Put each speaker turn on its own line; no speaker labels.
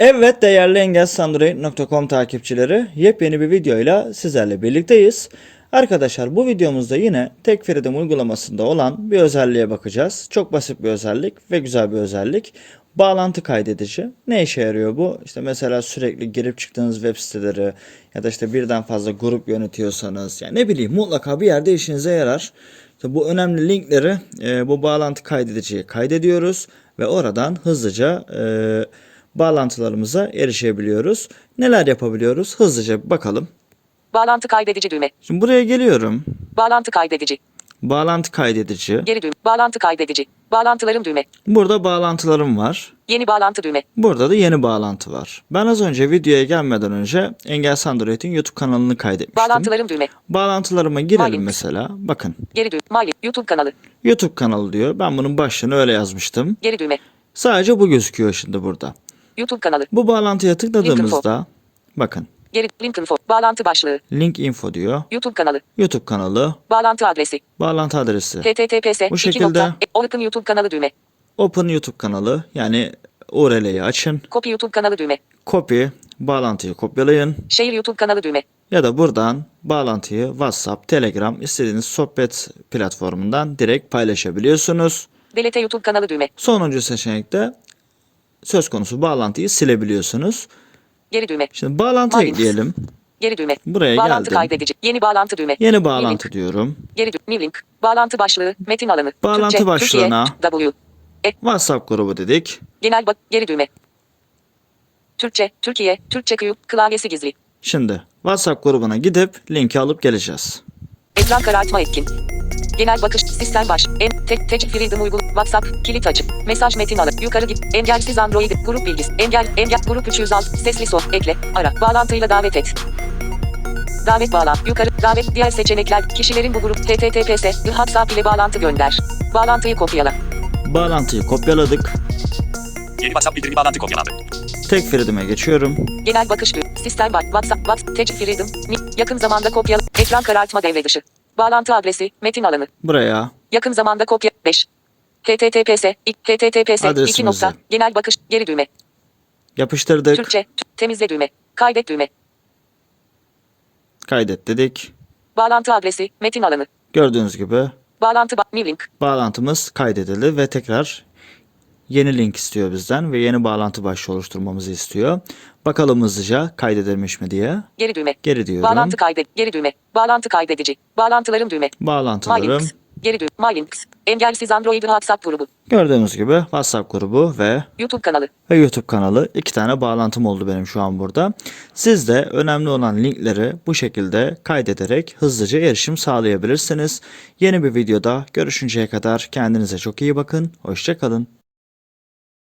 Evet değerli engelsandroid.com takipçileri yepyeni bir videoyla sizlerle birlikteyiz. Arkadaşlar bu videomuzda yine Tekfiridim uygulamasında olan bir özelliğe bakacağız. Çok basit bir özellik ve güzel bir özellik. Bağlantı kaydedici. Ne işe yarıyor bu? İşte mesela sürekli girip çıktığınız web siteleri ya da işte birden fazla grup yönetiyorsanız yani ne bileyim mutlaka bir yerde işinize yarar. İşte bu önemli linkleri e, bu bağlantı kaydediciye kaydediyoruz ve oradan hızlıca e, bağlantılarımıza erişebiliyoruz. Neler yapabiliyoruz? Hızlıca bir bakalım.
Bağlantı kaydedici düğme.
Şimdi buraya geliyorum.
Bağlantı kaydedici.
Bağlantı kaydedici.
Geri düğme. Bağlantı kaydedici. Bağlantılarım düğme.
Burada bağlantılarım var.
Yeni bağlantı düğme.
Burada da yeni bağlantı var. Ben az önce videoya gelmeden önce Engel Sandroid'in YouTube kanalını kaydetmiştim.
Bağlantılarım düğme.
Bağlantılarıma girelim
Link.
mesela. Bakın
Geri düğme. Mali. YouTube kanalı.
YouTube kanalı diyor. Ben bunun başlığını öyle yazmıştım.
Geri düğme.
Sadece bu gözüküyor şimdi burada.
YouTube kanalı.
Bu bağlantıya tıkladığımızda bakın
Geri. Link info. Bağlantı başlığı.
link info diyor.
YouTube kanalı.
YouTube kanalı,
Bağlantı adresi.
bağlantı adresi.
https.
Bu
iki
şekilde-
nokta, e, Open YouTube kanalı düğme.
Open YouTube kanalı yani URL'yi açın.
Copy YouTube kanalı düğme.
Copy bağlantıyı kopyalayın
Şehir YouTube kanalı düğme.
ya da buradan bağlantıyı WhatsApp, Telegram istediğiniz sohbet platformundan direkt paylaşabiliyorsunuz.
Delete YouTube kanalı düğme.
Sonuncu seçenekte söz konusu bağlantıyı silebiliyorsunuz.
Geri düğme.
Şimdi bağlantı
Aynen.
ekleyelim.
Geri düğme.
Buraya
bağlantı
geldim.
kaydedici. Yeni bağlantı düğme.
Yeni bağlantı diyorum.
Geri düğme. New link. Bağlantı başlığı. Metin alanı.
Bağlantı
Türkçe,
başlığına.
Türkiye, W.
WhatsApp grubu dedik.
Genel bak geri düğme. Türkçe, Türkiye, Türkçe kıyı, klavyesi gizli.
Şimdi WhatsApp grubuna gidip linki alıp geleceğiz.
Ekran karartma etkin. Genel bakış, sistem baş, en, tek, tecik freedom uygul, WhatsApp, kilit açık, mesaj metin alın, yukarı git, engelsiz Android, grup bilgisi, engel, engel, grup 306, sesli son, ekle, ara, bağlantıyla davet et. Davet bağlan, yukarı, davet, diğer seçenekler, kişilerin bu grup, https, WhatsApp ile bağlantı gönder. Bağlantıyı kopyala.
Bağlantıyı kopyaladık.
Yeni WhatsApp bildirimi bağlantı kopyalandı.
Tek Freedom'e geçiyorum.
Genel bakış düğüm. Sistem var. WhatsApp, WhatsApp, Tech Freedom, Ni- yakın zamanda kopya, ekran karartma devre dışı. Bağlantı adresi, metin alanı.
Buraya
Yakın zamanda kopya 5. https, ik- https, 2
Adresimizi.
nokta, genel bakış, geri düğme,
yapıştırdık.
Türkçe, t- temizle düğme, kaydet düğme,
Kaydet dedik.
bağlantı adresi, metin alanı,
Gördüğünüz gibi
bağlantı, ba- new link,
bağlantımız kaydedildi ve tekrar yeni link istiyor bizden ve yeni bağlantı başlığı oluşturmamızı istiyor. Bakalım hızlıca kaydedilmiş mi diye.
geri düğme,
Geri diyorum.
bağlantı kaydet, geri düğme, bağlantı kaydedici, bağlantılarım düğme,
Bağlantılarım.
mylinks, geri düğme, mylinks, engelsiz Android WhatsApp grubu,
Gördüğünüz gibi WhatsApp grubu ve
YouTube kanalı,
ve YouTube kanalı iki tane bağlantım oldu benim şu an burada. Siz de önemli olan linkleri bu şekilde kaydederek hızlıca erişim sağlayabilirsiniz. Yeni bir videoda görüşünceye kadar kendinize çok iyi bakın. Hoşçakalın.